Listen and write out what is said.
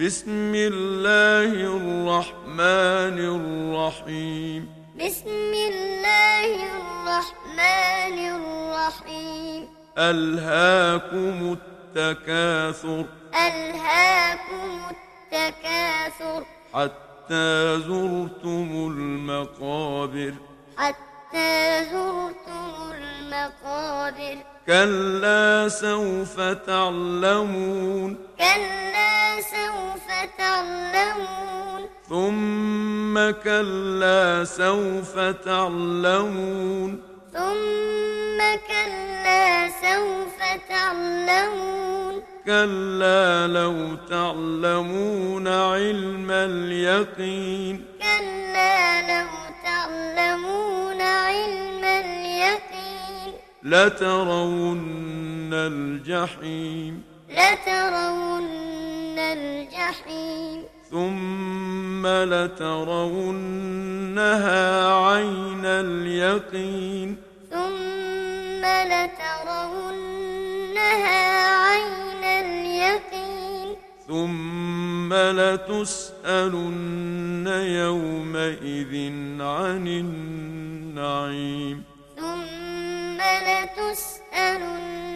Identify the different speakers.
Speaker 1: بسم الله الرحمن الرحيم
Speaker 2: بسم الله الرحمن الرحيم
Speaker 1: ألهاكم التكاثر
Speaker 2: ألهاكم التكاثر
Speaker 1: حتى زرتم المقابر
Speaker 2: حتى زرتم المقابر
Speaker 1: كلا سوف تعلمون
Speaker 2: كلا سوف تعلمون
Speaker 1: ثم كلا سوف تعلمون
Speaker 2: ثم كلا سوف تعلمون
Speaker 1: كلا لو تعلمون علم اليقين
Speaker 2: كلا لو تعلمون علم اليقين
Speaker 1: لترون الجحيم
Speaker 2: لترون الجحيم
Speaker 1: ثم لترونها عين اليقين
Speaker 2: ثم لترونها عين اليقين
Speaker 1: ثم لتسألن يومئذ عن النعيم
Speaker 2: ثم لتسألن